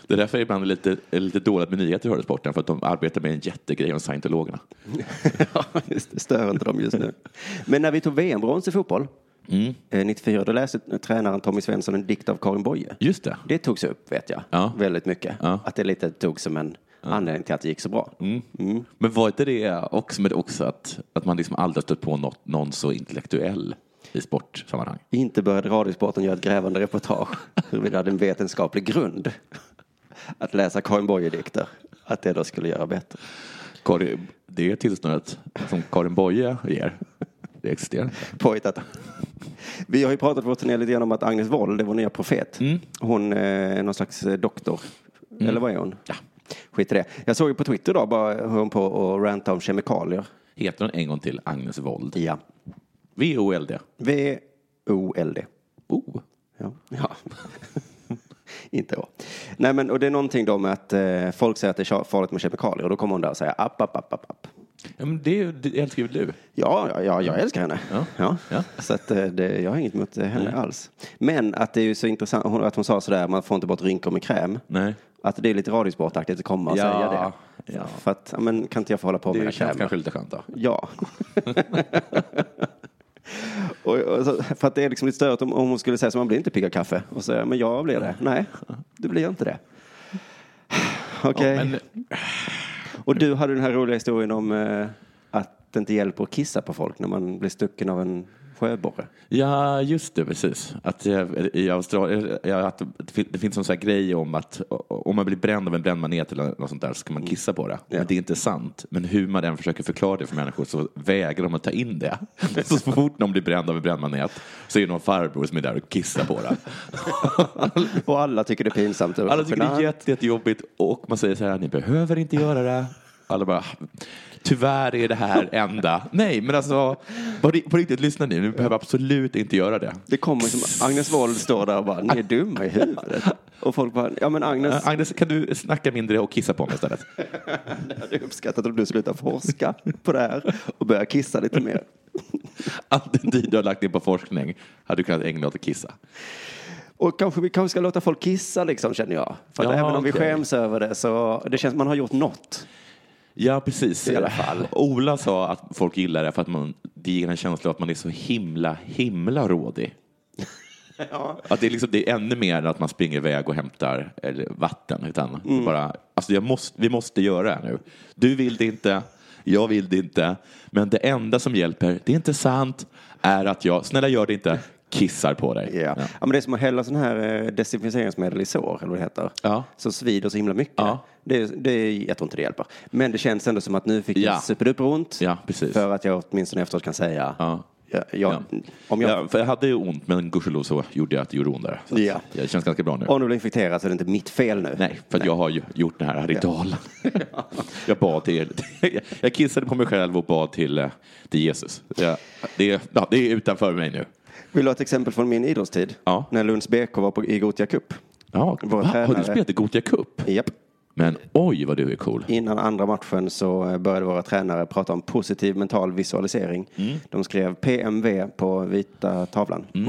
A: Det är därför jag ibland är lite, är lite dåligt med nyheter i Radiosporten, för att de arbetar med en jättegrej om scientologerna.
C: ja, just det, stör inte dem just nu. Men när vi tog VM-brons i fotboll,
A: Mm.
C: eh, 94, då läste tränaren Tommy Svensson en dikt av Karin Boye.
A: Just det.
C: Det togs upp, vet jag,
A: Ja.
C: väldigt mycket.
A: Ja. Mm.
C: Att det lite togs som en anledning till att det gick så bra.
A: Men var inte det också, med det också att, att man liksom aldrig stött på något, någon så intellektuell i sportsammanhang?
C: Inte började Radiosporten göra ett grävande reportage huruvida det hade en vetenskaplig grund att läsa Karin Boye-dikter. Att det då skulle göra bättre.
A: Karin, det tillståndet som Karin Boye ger, det existerar inte.
C: Påhittat. Vi har ju pratat på vår turné lite grann om att Agnes Wold, det är vår nya profet. Hon eh, är någon slags eh, doktor. Eller vad är hon? Ja. Skit i det. Jag såg ju på Twitter idag bara hur hon på och ranta om kemikalier.
A: Heter hon en gång till Agnes Wold?
C: Ja.
A: V-O-L-D.
C: V O-L-D.
A: Oh.
C: Ja. ja. Inte jag. Nej, men och det är någonting då med att eh, folk säger att det är farligt med kemikalier och då kommer hon där och säger app, app, app, app, app.
A: Ja, men det, är ju- det älskar väl du?
C: Ja, ja, ja, jag älskar henne.
A: Ja. Ja.
C: Så att, eh, det, jag har inget emot eh, henne alls. Men att det är ju så intressant hon- att hon sa sådär, man får inte bort rynkor med kräm.
A: Nej.
C: Att det är lite radiosportaktigt att komma och
A: Ja,
C: säga det.
A: ja.
C: För att, ja, men kan inte jag få hålla på med
A: Det
C: mina
A: känns
C: krämer?
A: kanske lite skönt då.
C: Ja. och, och, så- för att det är liksom lite störigt om, om hon skulle säga så man blir inte pigg av kaffe. Och säga, men jag blir det. Nej, du blir inte det. Okej.
A: Men,
C: Och du hade den här roliga historien om eh, att det inte hjälper att kissa på folk när man blir stucken av en sjöborre.
A: ja, just det, precis. Att eh, i Australien, ja, att det fin- det finns en sån här grej om att o- om man blir bränd av en brännmanet eller något sånt där så ska man kissa på det. Men det är inte sant. Men hur man än försöker förklara det för människor så vägrar de att ta in det. Så fort någon blir bränd av en brännmanet så är det någon farbror som är där och kissar på det.
C: Och alla tycker det är pinsamt. och
A: Alla tycker det är
C: genant.
A: jätte, jättejobbigt och man säger så här, ni behöver inte göra det. Alla bara, tyvärr är det här enda. Nej, men alltså, på ri- på riktigt, lyssna nu, ni behöver absolut inte göra det.
C: Det kommer som Agnes Wold står där och bara, ni är dumma i huvudet. Och folk bara, ja men Agnes,
A: Eh, Agnes, kan du snacka mindre och kissa på mig istället?
C: jag hade uppskattat om du slutar forska på det här och börjar kissa lite mer.
A: All den tid du har lagt in på forskning hade du kunnat ägna åt att kissa.
C: Och kanske vi kanske ska låta folk kissa liksom känner jag. För att
A: Ja,
C: även om vi
A: okej.
C: skäms över det så det känns man har gjort något.
A: Ja, precis.
C: I alla fall.
A: Ola sa att folk gillar det för att man, det ger en känsla av att man är så himla, himla rådig. Att det, är liksom, det är ännu mer än att man springer iväg och hämtar eller, vatten. Utan det bara, alltså jag måste, vi måste göra det här nu. Du vill det inte, jag vill det inte. Men det enda som hjälper, det är inte sant, är att jag, snälla gör det inte, kissar på dig.
C: Ja. Ja. men det är som att hälla sån här eh, desinficeringsmedel i sår, eller vad det heter.
A: Ja.
C: Som svider så himla mycket.
A: Ja.
C: Det, är- det, är- jag tror inte det hjälper. Men det känns ändå som att nu fick jag
A: Ja.
C: superduperont.
A: Ja, precis.
C: För att jag åtminstone efteråt kan säga.
A: Ja.
C: Ja, jag,
A: Ja.
C: Om jag,
A: Ja, för jag hade ju ont, men gudskelov så gjorde jag att det gjorde ondare. Så att
C: Ja.
A: Det känns ganska bra nu.
C: Om du blir infekterad så är det inte mitt fel nu.
A: Nej, för att jag har ju gjort det här här i Dalen. Jag bad till, jag kissade på mig själv och bad till, eh, till Jesus. Ja, Det är, ja, det är utanför mig nu.
C: Vill du ha ett exempel från min idrottstid?
A: Ja.
C: När Lunds BK var på, i Gothia Cup.
A: Ja,
C: Vår
A: va? Har
C: tränare-
A: du spelat i Gothia Cup?
C: Japp.
A: Men oj vad du är cool.
C: Innan andra matchen så eh, började våra tränare prata om positiv mental visualisering.
A: Mm.
C: De skrev PMV på vita tavlan.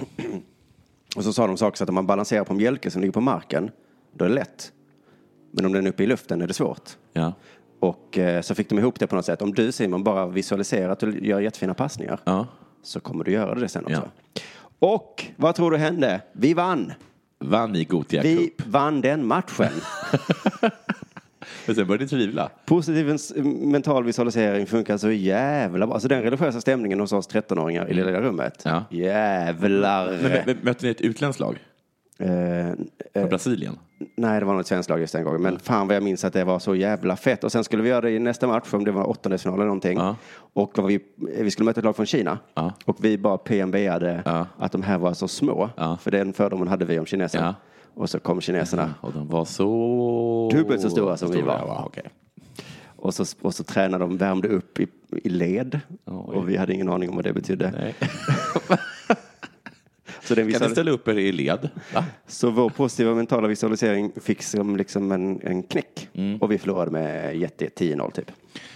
C: Och så sa de saker så att om man balanserar på en mjölke som ligger på marken, då är det lätt. Men om den är uppe i luften är det svårt.
A: Ja.
C: Och eh, så fick de ihop det på något sätt. Om du Simon bara visualiserar att du gör jättefina passningar
A: Ja.
C: så kommer du göra det sen också.
A: Ja.
C: Och vad tror du hände? Vi vann!
A: Vann i Gothia
C: Vi
A: Cup.
C: vann den matchen.
A: Men sen började jag tvivla.
C: Positiv ens- mental visualisering funkar så jävla bra. Alltså den religiösa stämningen hos oss 13-åringar i det lilla rummet.
A: Ja.
C: Jävlar!
A: Men, men, mötte ni ett utländskt lag
C: Eh, eh,
A: från Brasilien?
C: nej, det var nog ett svenskt lag just den gången. Men fan vad jag minns att det var så jävla fett. Och sen skulle vi göra det i nästa match, om det var åttondelsfinal eller någonting.
A: Ja.
C: Och då var vi, eh, vi skulle möta ett lag från Kina.
A: Ja.
C: Och vi bara PMBade
A: Ja.
C: att de här var så små.
A: Ja.
C: För den fördomen hade vi om kineserna.
A: Ja.
C: Och så kom kineserna.
A: Och de var så...
C: Mm. Dubbelt så stora som vi var.
A: Ja, okej.
C: Och så, och så tränade de, värmde upp i, i led. Och vi hade ingen aning om vad det betydde.
A: Nej.
C: Så, den
A: Kan ni
C: visualis-
A: ställa upp er i led? Va?
C: så vår positiva mentala visualisering fick som liksom en, en knäck.
A: Mm.
C: Och vi förlorade med jätte 10-0 typ.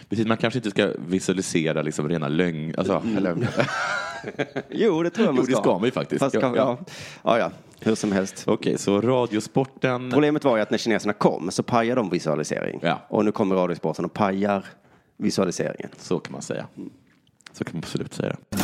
A: Precis, man kanske inte ska visualisera liksom rena lögn... Alltså,
C: Mm.
A: lögn.
C: Jo, det tror jag man
A: Jo, det ska man ju faktiskt.
C: Fast,
A: Ja,
C: ja, ja.
A: ja.
C: Ja, ja, hur som helst.
A: Okej, så radiosporten...
C: Problemet var ju att när kineserna kom så pajade de visualisering.
A: Ja.
C: Och nu kommer radiosporten och pajar visualiseringen.
A: Så kan man säga. Så kan man absolut säga det.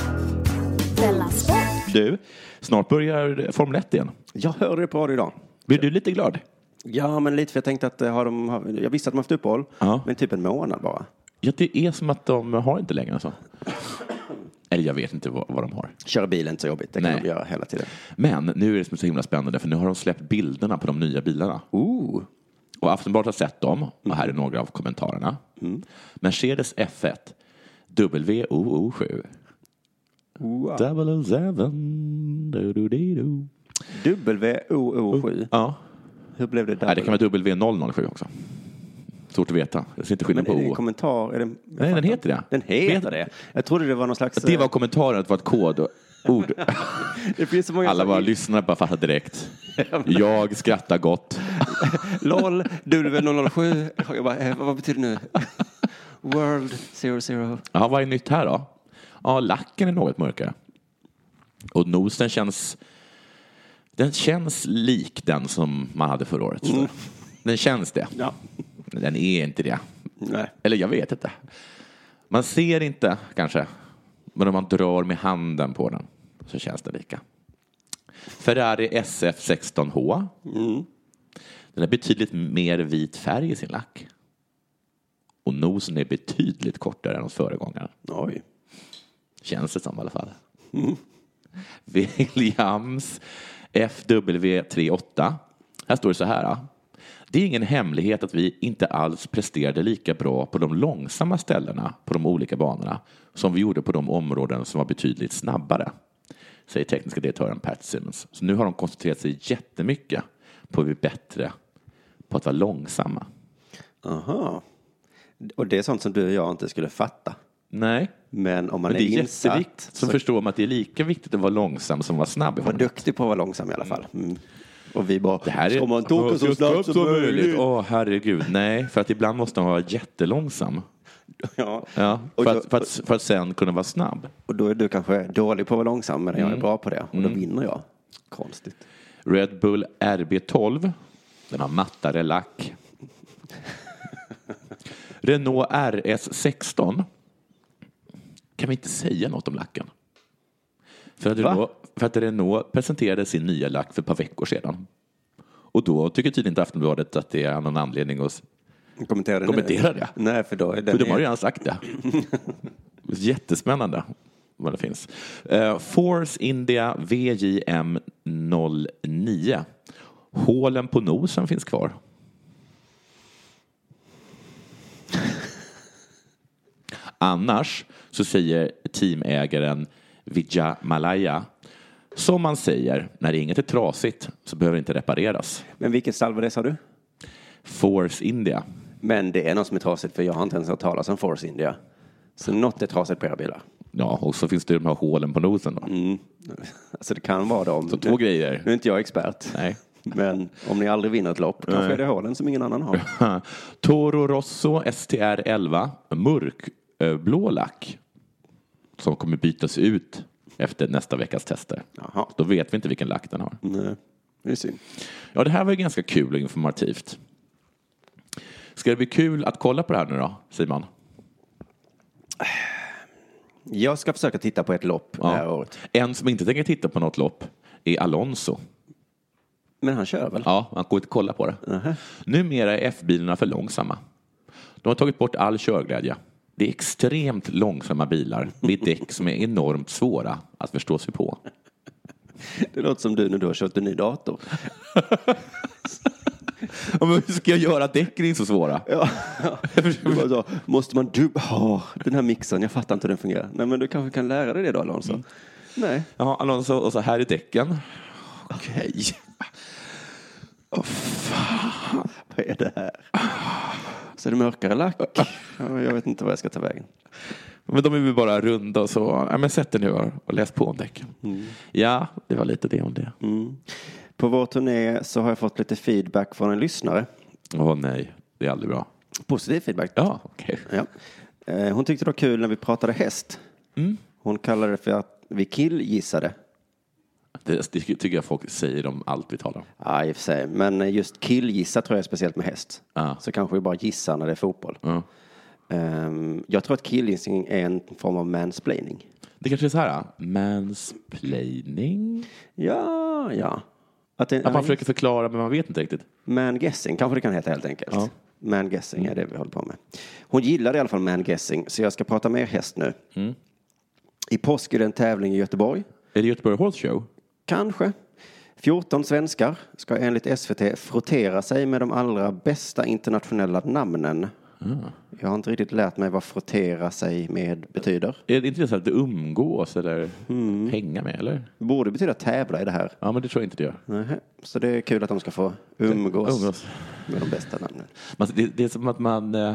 D: Della Sport.
A: Du, snart börjar Formel 1 igen.
C: Jag hörde det på radio idag.
A: Blir du lite glad?
C: Ja, men lite för jag tänkte att eh, har de, har, jag visste att de haft uppehåll,
A: Ja.
C: men typ en månad bara.
A: Ja, det är som att de har inte längre så. Eller jag vet inte vad, vad de har.
C: Köra bilen inte så jobbigt, det kan
A: Nej.
C: de göra hela tiden.
A: Men nu är det som så himla spännande för nu har de släppt bilderna på de nya bilarna.
C: Ooh.
A: Och Aftonbladet har sett dem och här är några av kommentarerna. Mercedes F1 WOO7 007 du, du, du, du.
C: WOO7,
A: Ja.
C: hur blev det där?
A: Nej, det kan vara W007 också. Svårt att veta. Jag ser inte skillnad
C: Men är
A: på
C: det en
A: O.
C: kommentar? Är det, jag
A: Nej, den
C: fattar
A: heter
C: inte.
A: det.
C: Den heter det? Jag trodde det var någon slags... eh,
A: Det var kommentaren att det var ett kod. ord.
C: Det finns så många
A: Alla
C: som-
A: bara lyssnar bara fattar direkt. Jag skrattar gott.
C: LOL, W007. Jag bara, eh, vad betyder det nu? World 00.
A: Jaha, vad är nytt här då? Ja, lacken är något mörkare. Och nosen känns... Den känns lik den som man hade förra året. så. Den känns det.
C: Ja.
A: Men Den är inte det.
C: Nej.
A: Eller jag vet inte. Man ser inte kanske. Men om man drar med handen på den så känns den lika. Ferrari SF 16H.
C: Mm.
A: Den är betydligt mer vit färg i sin lack. Och nosen är betydligt kortare än hos föregångaren.
C: Oj.
A: Känns det som i alla fall. Mm. Williams FW38. Här står det så här. ja. Det är ingen hemlighet att vi inte alls presterade lika bra på de långsamma ställena på de olika banorna som vi gjorde på de områden som var betydligt snabbare. Säger tekniska direktören Pat Simmons. Så nu har de koncentrerat sig jättemycket på att bli bättre på att vara långsamma.
C: Aha. Och det är sånt som du och jag inte skulle fatta.
A: Nej,
C: Men om man
A: men det
C: är,
A: är jätteviktigt.
C: insatt
A: Så
C: så
A: förstår man att det är lika viktigt att vara långsam som att vara snabb. i
C: var
A: formen.
C: duktig på att vara långsam i alla fall. Mm. Och vi bara,
A: Det här är...
C: ska man inte åka så snabbt som möjligt?
A: Åh, herregud. Nej, för att ibland måste man vara jättelångsam.
C: Ja.
A: Ja,
C: Och,
A: för,
C: då,
A: att, för, att, för att sen kunna vara snabb.
C: och då är du kanske dålig på att vara långsam, men
A: Mm.
C: jag är bra på det. Och då vinner jag. Konstigt.
A: Red Bull RB12. Den har mattare lack. Renault RS16. Kan vi inte säga något om lacken? För att,
C: Va?
A: Renault, för att Renault presenterade sin nya lack för ett par veckor sedan. Och då tycker tydligen inte Aftonbladet att det är någon anledning att
C: Kommentera det
A: Kommentera
C: nu.
A: det.
C: Nej, för då är den
A: För de har ju redan sagt det. Jättespännande vad det finns. Eh, Force India VJM 09. Hålen på nosen finns kvar. Annars så säger teamägaren Vijay Malaya som man säger, när inget är trasigt så behöver det inte repareras.
C: Men vilken stall var det, sa du?
A: Force India.
C: Men det är något som är trasigt, för jag har inte ens hört talas om Force India. Så något är trasigt på era bilar.
A: Ja, och så finns det de här hålen på nosen då.
C: Alltså det kan vara dem.
A: Så två grejer.
C: Nu är inte jag expert.
A: Nej.
C: Men om ni aldrig vinner ett lopp, kanske är det hålen som ingen annan har.
A: Toro Rosso STR 11, mörkblå eh, lack som kommer bytas ut efter nästa veckas tester.
C: Jaha.
A: Då vet vi inte vilken lack den har.
C: Nej, det är synd.
A: Ja, det här var ju ganska kul och informativt. Ska det bli kul att kolla på det här nu då, Simon?
C: Jag ska försöka titta på ett lopp det här året.
A: En som inte tänker titta på något lopp är Alonso.
C: Men han kör väl?
A: Ja, man går inte kolla på det. Numera är F-bilarna för långsamma. De har tagit bort all körglädje. Det är extremt långsamma bilar med däck som är enormt svåra att förstå sig på.
C: Det låter som du när du har köpt en ny dator.
A: Ja, men hur ska jag göra däcken inte så svåra?
C: Du bara så, måste man dubbla? ha den här mixen, jag fattar inte hur den fungerar. Nej, men du kanske kan lära dig det då, Alonso?
A: Mm.
C: Nej.
A: Ja, Alonso, och så här är däcken. Okej.
C: Vad är det här? Så är det mörkare lack. Ja, Jag vet inte vad jag ska ta vägen.
A: Men de är väl bara runda och så. Ja, men sätt dig nu och läs på om däcken. Ja, det var lite det om det. Åh
C: På vår turné så har jag fått lite feedback från en lyssnare.
A: nej, det är aldrig bra.
C: Positiv feedback.
A: Ja, okej.
C: Ja. Eh, Hon tyckte det var kul när vi pratade häst. Hon kallade det för att vi killgissade.
A: Det, det tycker jag folk säger om allt vi talar om.
C: Ja, i och för sig. Men just killgissa tror jag är speciellt med häst.
A: Ja.
C: Så kanske vi bara gissar när det är fotboll.
A: Ja.
C: Ehm, jag tror att killgissning är en form av mansplaining.
A: Det kanske är så här, ah, mansplaining?
C: Ja, ja. Att det,
A: Att man försöker förklara men man vet inte riktigt.
C: Man guessing kanske det kan heta helt enkelt.
A: Ja.
C: Man guessing är det vi håller på med. Hon gillade i alla fall man guessing, så jag ska prata mer häst nu.
A: Mm.
C: I påsk är det en tävling i Göteborg.
A: Är det Göteborg Horse Show?
C: Kanske. 14 svenskar ska enligt SVT frottera sig med de allra bästa internationella namnen.
A: Mm.
C: Jag har inte riktigt lärt mig vad frottera sig med betyder.
A: Är det inte det så att umgås eller
C: Mm.
A: hänga med eller?
C: Det borde betyda tävla i det här.
A: Ja, men det tror jag inte det gör.
C: Nähä. Så det är kul att de ska få umgås,
A: Umgås.
C: med de bästa namnen.
A: Man, Alltså, det, det är som att man... eh,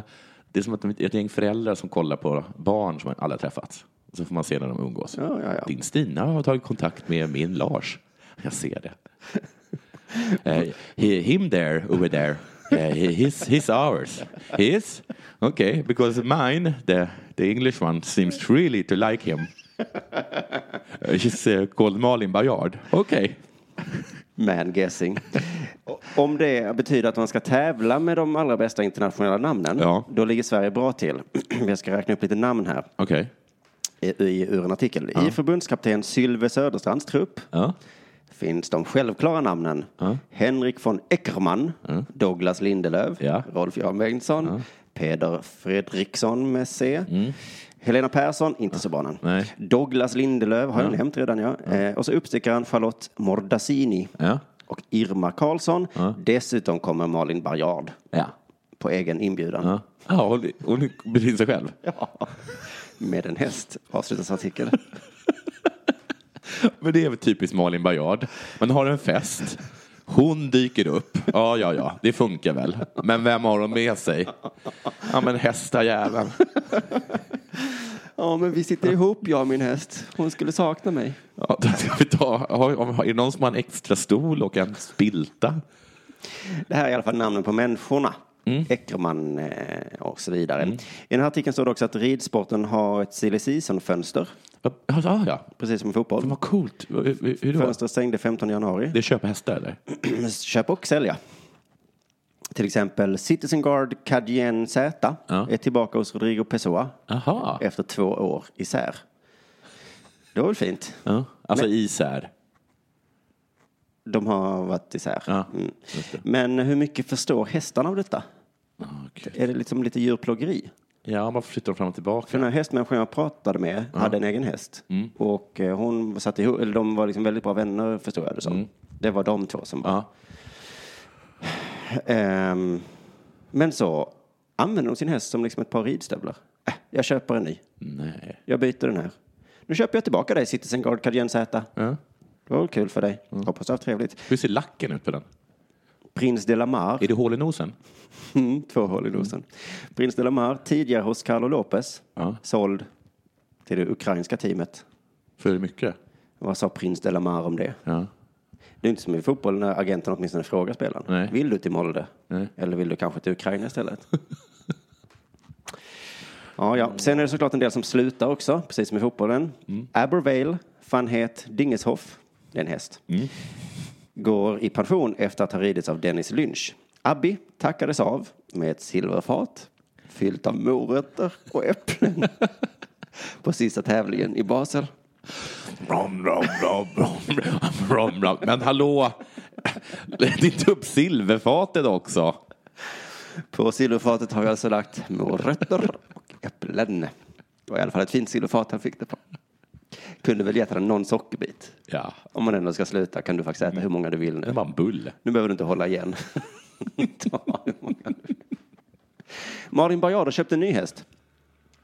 A: Det är som att de- ett gäng föräldrar som kollar på barn som aldrig har träffats. Så får man se när de umgås.
C: Ja, ja, ja.
A: Din Stina har tagit kontakt med min Lars. Jag ser det. Eh, he, him there, over there. Eh, he, his, his ours. His? Okay, because mine, the, the English one, seems really to like him. Eh, He's uh, called Malin Bajard. Okej.
C: Man guessing. Om det betyder att man ska tävla med de allra bästa internationella namnen,
A: Ja.
C: då ligger Sverige bra till. Jag ska räkna upp lite namn här
A: Okej.
C: i, i, ur en artikel. I förbundskapten Sylve Söderstrands trupp
A: Ja.
C: finns de självklara namnen Henrik von Eckermann, Douglas Lindelöf,
A: Ja.
C: Rolf Jan Bengtsson, Peder Fredriksson med C, Helena Persson, inte så bra namn.
A: Mm. Nej.
C: Douglas Lindelöf har jag nämnt redan ja. Eh, och så uppstickaren Charlotte Mordassini
A: Ja.
C: och Irma Karlsson. Dessutom kommer Malin Barjard
A: Ja.
C: på egen inbjudan
A: Ja, ja hon, hon blir sig själv.
C: med en häst, avslutas artikeln.
A: Men det är väl typiskt Malin Bajard. Man har en fest. Hon dyker upp. Ja, ja, ja, det funkar väl. Men vem har hon med sig? Ja, men hästajäveln.
C: Ja, men vi sitter ihop, jag och min häst. Hon skulle sakna mig.
A: Ja, då ska vi ta. Har, har- är det någon som har en extra stol och en spilta?
C: Det här är i alla fall namnen på människorna.
A: Mm.
C: Eckermann eh, och så vidare. I den här artikeln står det också att ridsporten har ett silly season-fönster,
A: Ja, ja, ja.
C: precis som i
A: Men
C: fotboll.
A: vad coolt. Hur, hur det var?
C: Fönstret stängde 15 januari.
A: Det är köpa hästar eller?
C: Köp och sälja. Till exempel Citizen Guard Cayenne Z
A: Ja.
C: är tillbaka hos Rodrigo Pessoa
A: Aha.
C: efter två år isär. Det var väl fint.
A: Ja. Alltså isär.
C: De har varit isär.
A: Ja,
C: Mm. Men hur mycket förstår hästarna av detta?
A: Okay.
C: Är det liksom lite djurplågeri?
A: Ja, man flyttar fram och
C: För
A: tillbaka.
C: den här hästmänniskan jag pratade med hade en egen häst.
A: Mm.
C: Och eh, hon satt ihop, eller de var liksom väldigt bra vänner förstod jag det som.
A: Mm.
C: Det var de två som var.
A: Ja.
C: Ehm, men så använder de sin häst som liksom ett par ridstövlar. Äh, jag köper en ny.
A: Nej.
C: Jag byter den här. Nu köper jag tillbaka dig Citizen Guard Cardien Z.
A: Ja. Mm.
C: Det var väl kul för dig. Hoppas du har haft trevligt.
A: Hur ser lacken ut på den?
C: Prins de la Mar.
A: Är det hål i nosen?
C: Mm, två hål i nosen. Prins de la Mar, tidigare hos Carlo Lopez.
A: Ja.
C: Såld till det ukrainska teamet.
A: För mycket?
C: Vad sa prins de la Mar om det?
A: Ja.
C: Det är inte som i fotboll när agenten åtminstone frågar spelaren.
A: Nej.
C: Vill du till Molde?
A: Nej.
C: Eller vill du kanske till Ukraina istället? ja, ja. Sen är det såklart en del som slutar också, precis som i fotbollen.
A: Mm.
C: Abervale, van Het, Dingeshoff, det är en häst,
A: Mm.
C: går i pension efter att ha ridits av Dennis Lynch. Abbi tackades av med ett silverfat fyllt av morötter och äpplen på sista tävlingen i Basel.
A: Rom, rom, rom, rom, rom, rom. Men hallå, det är upp silverfatet också.
C: På silverfatet har jag alltså lagt morötter och äpplen. Det var i alla fall ett fint silverfat han fick det på. Kunde väl gett honom någon sockerbit.
A: Ja,
C: Om man ändå ska sluta kan du faktiskt äta hur många du vill nu.
A: det var en bull.
C: Nu behöver du inte hålla igen. Ta hur många du vill. Malin Baryarder köpte en ny häst.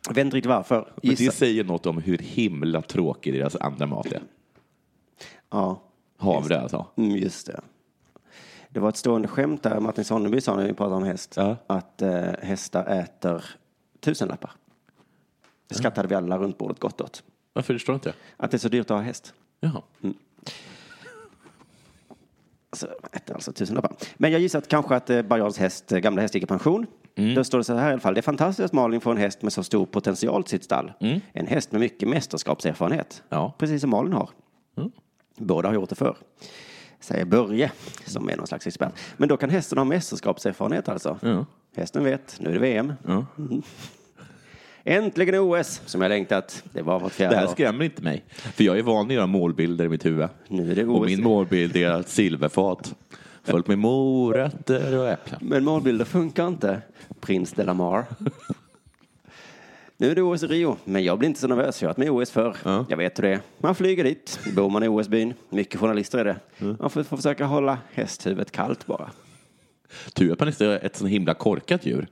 C: Jag vet inte riktigt varför.
A: Men det
C: Gissa.
A: säger något om hur himla tråkig deras andra mat är.
C: Ja,
A: Havre alltså.
C: mm, just det. Det var ett stående skämt där Martin Sonneby sa när vi pratade om häst.
A: Ja.
C: Att eh, hästar äter tusenlappar. Det skrattade vi alla runt bordet gott åt.
A: Varför förstår inte jag?
C: Att det är så dyrt att ha häst.
A: Jaha.
C: Alltså, ett, alltså tusenlappar. Men jag gissar att kanske att eh, Baryards häst, eh, gamla häst gick i pension.
A: Mm.
C: Då står det så här i alla fall. Det är fantastiskt att Malin får en häst med så stor potential till sitt stall. En häst med mycket mästerskapserfarenhet.
A: Mm. Ja. Mm.
C: Precis som Malin har. Båda har gjort det förr. Säger Börje, som är någon slags expert. Men då kan hästen ha mästerskapserfarenhet alltså. Hästen vet, nu är det VM. Mm. Äntligen OS, som jag längtat. Det var vårt
A: Det
C: fjärde
A: här
C: år.
A: skrämmer inte mig. För jag är van vid att göra målbilder i mitt huvud.
C: Nu är det
A: Och
C: OS.
A: min målbild är ett silverfat. Fullt med morötter och äpplen.
C: Men målbilder funkar inte, prins de la Mar. Nu är det OS i Rio, men jag blir inte så nervös. Jag har varit med i OS förr. Jag vet hur det är. Man flyger dit, bor man i OS-byn. Mycket journalister är det. Man får, får försöka hålla hästhuvudet kallt bara.
A: Tur att man inte är ett så himla korkat djur.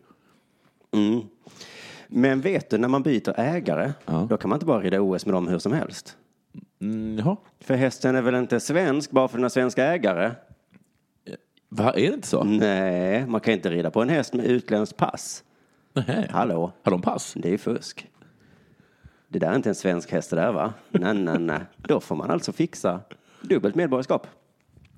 C: Men vet du, när man byter ägare, då kan man inte bara rida OS med dem hur som helst.
A: Mm, Jaha.
C: För hästen är väl inte svensk bara för den har svenska ägare?
A: Va, är det inte så?
C: Nej, man kan inte rida på en häst med utländskt pass.
A: Nej.
C: Hallå,
A: Har de pass?
C: det är fusk. det där är inte en svensk häst det där va? Nej, nej, nej. Då får man alltså fixa dubbelt medborgarskap.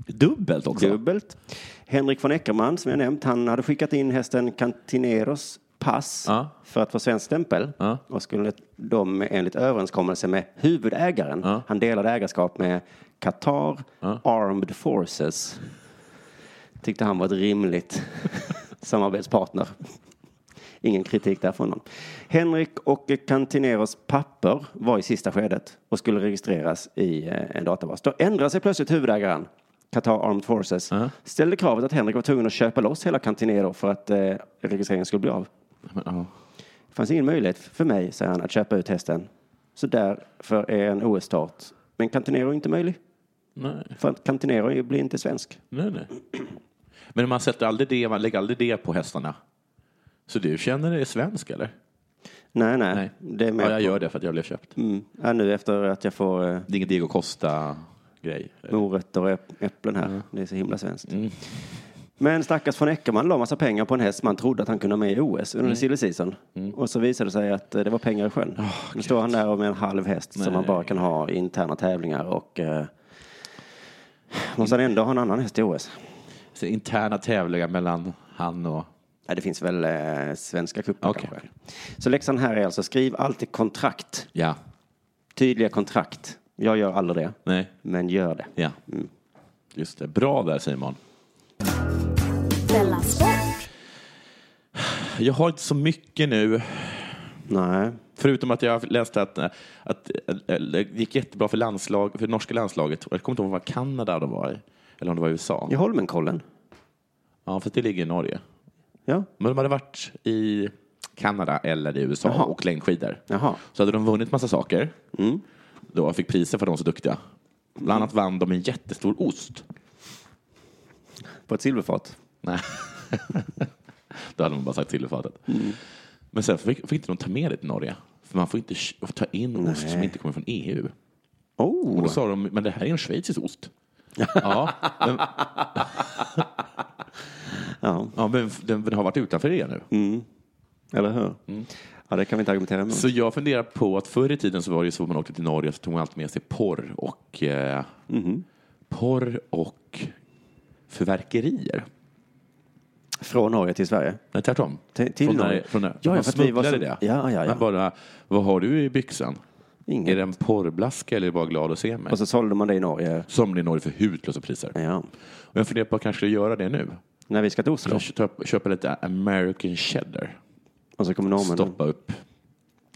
A: Dubbelt också?
C: Dubbelt. Henrik von Eckermann, som jag nämnt, han hade skickat in hästen Cantineros pass
A: Ja.
C: för att få svensk stämpel.
A: Ja.
C: Och skulle de enligt överenskommelse med huvudägaren,
A: Ja.
C: han delade ägarskap med Qatar Armed Forces, tyckte han var ett rimligt samarbetspartner. Ingen kritik där från honom. Henrik och Cantineros papper var i sista skedet och skulle registreras i eh, en databas. Då ändrade sig plötsligt huvudägaren, Qatar Armed Forces, ställde kravet att Henrik var tvungen att köpa loss hela Cantinero för att eh, registreringen skulle bli av.
A: Men, ja.
C: Det fanns ingen möjlighet för mig, säger han, att köpa ut hästen. Så därför är en OS-start. Men Cantinero är inte möjlig,
A: Nej,
C: för att Cantinero är- blir inte svensk.
A: nej, nej. Men man sätter aldrig det, man lägger aldrig det på hästarna. Så du känner dig svensk eller?
C: Nej, nej.
A: Nej.
C: Det är med
A: Ja, jag
C: på-
A: gör det för att jag blev köpt.
C: Mm. Ja, nu efter att jag får... Eh,
A: Det är ingen Diego Costa-grej.
C: morötter och äpp- äpplen här. Det är så himla svenskt. Men stackars von Eckermann la massa pengar på en häst man trodde att han kunde ha med i OS under silly season. Och så visade det sig att eh, det var pengar i sjön. nu står han där med en halv häst som man bara kan ha i interna tävlingar och eh, måste han ändå ha en annan häst i OS.
A: Så interna tävlingar mellan han och...
C: Ja, det finns väl eh, svenska cupen
A: Okej.
C: kanske. Så läxan här är alltså skriv alltid kontrakt.
A: Ja.
C: Tydliga kontrakt. Jag gör aldrig det.
A: Nej.
C: Men gör det.
A: Ja. Just det. Bra där Simon.
D: Della Sport.
A: Jag har inte så mycket nu.
C: Nej.
A: Förutom att jag läste att, eh, att eh, eh, det gick jättebra för, landslag, för det norska landslaget. Och Jag kommer inte ihåg om det var Kanada de var i. Eller om det var USA.
C: I Holmenkollen.
A: Ja, för det ligger i Norge.
C: Ja.
A: Men de hade varit i Kanada eller i USA
C: Jaha.
A: och längdskidor.
C: Jaha. Mm.
A: Så hade de vunnit massa saker. Då fick priser för att de var så duktiga. Bland annat vann de en jättestor ost.
C: På ett silverfat.
A: Nej. Då hade man bara sagt till i fatet.
C: Mm.
A: Men sen fick, fick inte de ta med det till Norge. För man får inte sh- ta in ost som inte kommer från EU.
C: Oh.
A: Och då sa de, men det här är en schweizisk ost. ja, men,
C: Ja,
A: ja, men den, den har varit utanför EU nu.
C: eller hur? Ja, det kan vi inte argumentera emot.
A: Mm. Så jag funderar på att förr i tiden så var det ju så att man åkte till Norge så tog man alltid med sig porr och eh,
C: Mhm.
A: porr och förverkerier.
C: Från Norge till Sverige?
A: Nej, tvärtom.
C: Till- till
A: från
C: Norge?
A: När, från när,
C: Ja,
A: man
C: ja, för att vi var
A: smugglade
C: så-
A: det.
C: Ja, ja, Mm. ja.
A: Men bara, vad har du i byxan?
C: Inget.
A: Är det en porrblaska eller är du bara glad att se mig?
C: Och så sålde man det i Norge?
A: Som det är i Norge för hutlösa priser.
C: Ja.
A: Och jag funderar på att kanske göra det nu.
C: När vi ska till Oslo?
A: Jag köper, köper lite American cheddar.
C: Och så kommer norrmännen.
A: Stoppa upp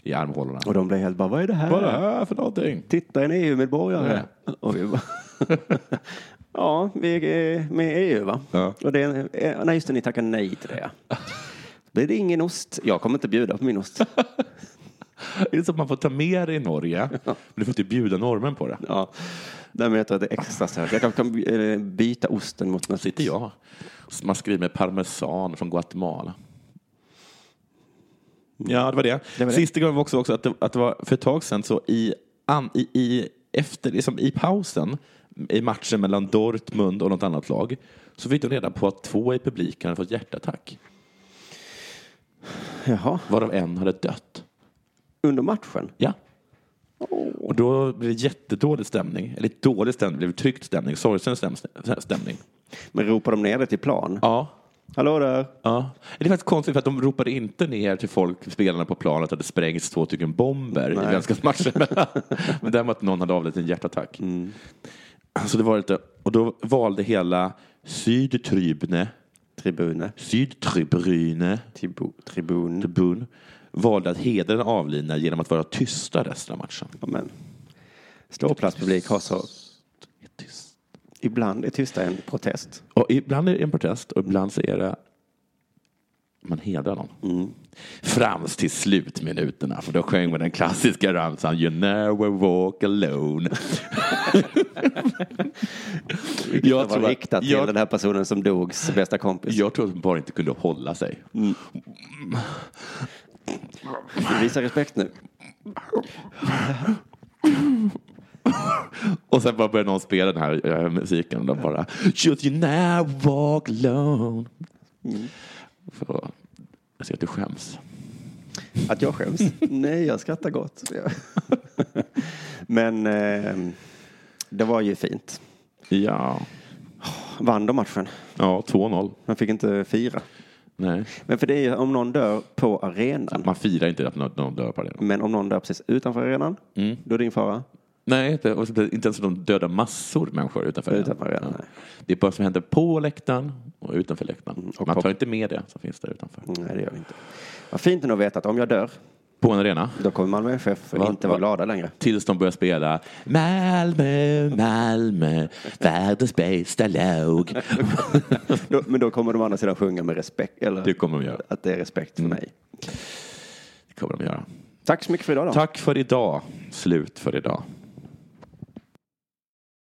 A: i armhålorna.
C: Och de blev helt bara, vad är det här?
A: Vad är det här för någonting?
C: Titta, en EU-medborgare. Och vi bara... ja, vi är med i EU va?
A: Ja.
C: Och det är, eh, nej, just det, ni tackar nej till det. ja. Då är det ingen ost. Jag kommer inte bjuda på min ost.
A: Är det så att man får ta med det i Norge, men du får inte bjuda norrmän på det?
C: ja. Därmed vet jag att det är extra starkt. Jag kanske kan eh, byta osten mot något.
A: Sitter jag man skriver med parmesan från Guatemala. Ja, det var det.
C: var det.
A: Sista gången var också, också att, det, att det var för ett tag sedan så i, an, i, i, efter, liksom i pausen i matchen mellan Dortmund och något annat lag så fick de reda på att två i publiken hade fått hjärtattack
C: Jaha,
A: varav en hade dött.
C: under matchen?
A: Ja. Och då blev det jättedålig stämning. Eller dålig stämning, det blev tryckt stämning, sorgsen stäm- stämning.
C: Men ropar de ner det till plan?
A: Ja,
C: Hallå där!
A: Ja. Det är faktiskt konstigt för att de ropade inte ner till folk, spelarna på planet, att det sprängts två stycken bomber i vänskapsmatchen. Men däremot någon hade avlidit i en hjärtattack.
C: Mm.
A: Så det var lite, och då valde hela Sydtribune,
C: Tribune.
A: Sydtribune,
C: Tibu, tribun.
A: Tribun, valde att hedra den avlidna genom att vara tysta resten av matchen.
C: Amen. Ståplatspublik har så... Ibland är tysta en protest.
A: Och ibland är det en protest och ibland så är det man hedrar dem. Fram till slutminuterna, för då sjöng man den klassiska ramsan You never walk alone. jag,
C: det var
A: tror
C: riktat
A: att,
C: till
A: jag,
C: den här personen som dogs bästa kompis.
A: jag tror att de bara inte kunde hålla sig.
C: Visa respekt nu.
A: Och sen bara började någon spela den här eh, musiken och de bara Should you never walk alone. Så, jag ser att du skäms.
C: Att jag skäms? Nej, jag skrattar gott. Men eh, det var ju fint.
A: Ja,
C: Vann de matchen?
A: ja 2-0.
C: Man fick inte fira.
A: Nej.
C: Men för det är ju om någon dör på arenan.
A: Man firar inte att någon någon dör på arenan.
C: Men om någon dör precis utanför arenan,
A: Mm.
C: då är det ingen fara.
A: Nej, inte, och inte ens de dödar massor människor utanför
C: Utanför arenan, nej.
A: Det är bara som händer på läktaren och utanför läktaren.
C: Mm, och
A: Man
C: på-
A: tar inte med det som finns där utanför.
C: Nej, det gör vi inte. Vad fint ändå att veta att om jag dör,
A: På en arena.
C: då kommer Malmö FF
A: Va?
C: inte
A: Va?
C: vara glada längre.
A: Tills de börjar spela Malmö, Malmö, världens bästa lag.
C: Då, men då kommer de å andra sidan sjunga med respekt. Eller
A: Det kommer de göra.
C: att det är respekt för mig.
A: Det kommer de göra.
C: Tack så mycket för idag då.
A: Tack för idag. Slut för idag.